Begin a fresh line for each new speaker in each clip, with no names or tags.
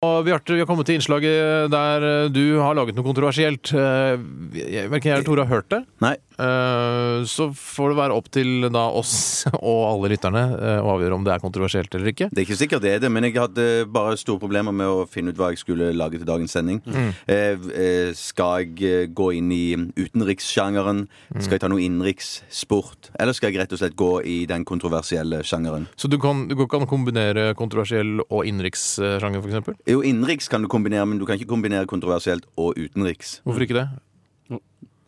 Og Bjarte, vi har kommet til innslaget der eh, du har laget noe kontroversielt. Eh, jeg- Verken jeg eller Tore har hørt det.
Nei.
Eh, Så får det være opp til da oss og alle lytterne eh, å avgjøre om det er kontroversielt eller ikke.
Det er ikke sikkert det er det, men jeg hadde bare store problemer med å finne ut hva jeg skulle lage til dagens sending.
Mm.
Eh, eh, skal jeg eh, gå inn i utenrikssjangeren?
Mm.
Skal jeg ta noe innenrikssport? Eller skal jeg rett og slett gå i den kontroversielle sjangeren?
Så du kan, du kan kombinere kontroversiell og innenrikssjanger, f.eks.?
Jo, innenriks kan du kombinere, men du kan ikke kombinere kontroversielt og utenriks.
Hvorfor ikke det?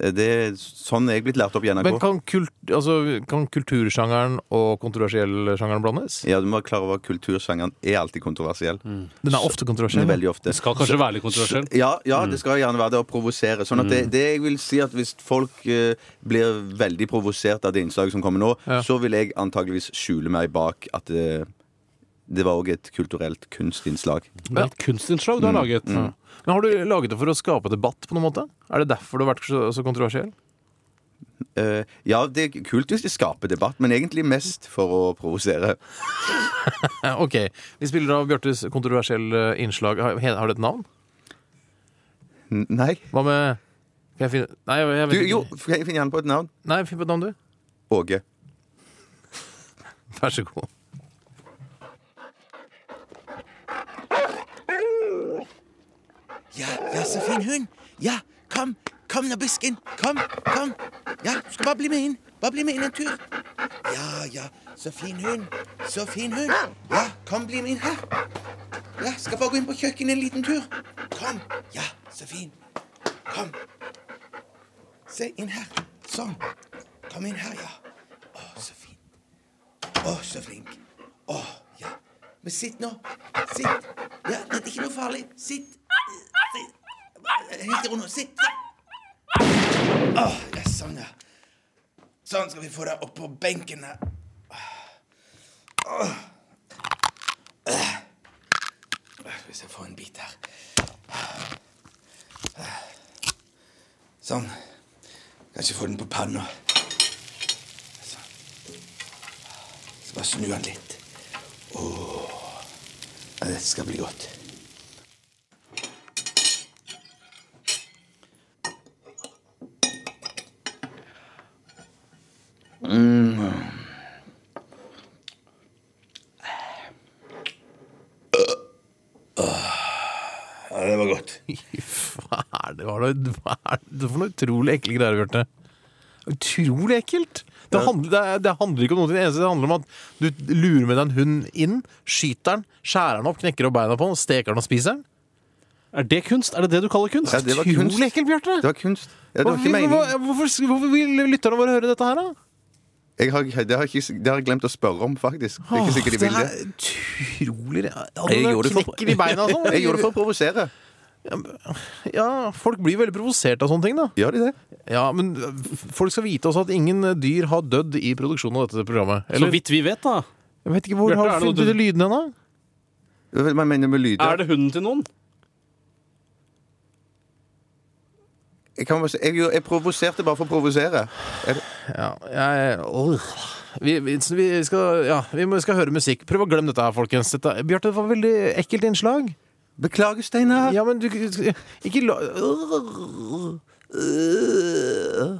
Eh, Det er sånn jeg er blitt lært opp i
Men
NRK.
kan, kult, altså, kan kultursjangeren og kontroversiell sjangeren blandes?
Ja, du må være klar over at kultursjangeren er alltid kontroversiell.
Den er ofte
Den
kontroversiell.
er veldig ofte.
Det skal kanskje være litt kontroversiell.
Ja, ja det skal gjerne være det å provosere. Sånn at det, det jeg vil si at Hvis folk eh, blir veldig provosert av det innslaget som kommer nå,
Ja.
så vil jeg antageligvis skjule meg bak at eh, det var òg et kulturelt kunstinnslag.
Det er et kunstinnslag du har laget.
Men Har du laget det for å skape debatt? på noen måte? Er det derfor du har vært så, så kontroversiell?
Eh, ja, det er kult hvis de skaper debatt, men egentlig mest for å provosere.
Eh, Ok, Vi spiller av Bjartes kontroversielle eh, innslag. Har, he- har det et navn?
N nei.
Hva med Kan jeg finne Nei, jeg, jeg
Du,
vet
jo,
ikke.
jeg finner gjerne på et navn.
Nei, finn på et navn, du.
Åge.
Vær så god.
Ja, ja, så fin hund. Ja, kom. Kom nå, Bisken. Kom, kom. Ja, du skal bare bli med inn. Bare bli med inn en tur. Ja, ja, så fin hund. Så fin hund. Ja, kom, bli med inn her. Ja, skal bare gå inn på kjøkkenet en liten tur. Kom. Ja, så fin. Kom. Se inn her. Sånn. Kom inn her, ja. Å, så fin. Å, så flink. Å, ja. Men sitt nå. Sitt. Ja, det er ikke noe farlig. Sitt. Sitt. Helt i ro nå. Sitt. Å, ja, sånn, ja. Sånn skal vi få deg opp på benken her. Åh. Åh, Hvis jeg får en bit her. Sånn. Kanskje få den på panna. Sånn. Skal bare snu den litt. Åh. Ja, Dette skal bli godt. Mm. Ja, det var godt.
Hva er det, hva er det, hva er det for noe utrolig ekle greier, Bjarte? Utrolig ekkelt! Det handler, det, er- det handler ikke om noe til det eneste. Det handler om at du lurer med deg en hund inn, skyter den, skjærer den opp, knekker opp beina på den, steker den og spiser den.
Er det kunst? Er det det du kaller kunst?
Ja, det var kunst.
Utrolig ekkelt, Bjarte!
Det var kunst. Ja, det var ikke
Hvorfor,
meningen.
hvorfor, hvorfor- hvorfor vil lytterne våre høre dette her, da?
Jeg har, det, har jeg ikke, det har jeg glemt å spørre om, faktisk. Det er ikke sikkert de vil det.
er utrolig altså,
Jeg
det
gjorde det for-
Knekker i beina og sånn.
Jeg gjorde det for å provosere.
Ja, folk blir veldig provosert av sånne ting, da.
Gjør de det?
Ja, men folk skal vite også at ingen dyr har dødd i produksjonen av dette programmet.
Så
Eller,
vidt vi vet, da.
jeg vet ikke hvor
Bjarte,
har
er det
du
noe
funnet
du-
de lydene ennå?
Hva er det man mener med lyder?
Er det hunden til noen?
Jeg, kan bare si- jeg, jeg provoserte bare for å provosere.
Ja, jeg åh. vi, vi, så vi, skal, ja, vi må- skal høre musikk. Prøv å glemme dette her, folkens. Dette, Bjarte, det var et veldig ekkelt innslag.
Beklager, Steinar.
Ja, men du Ikke la øh.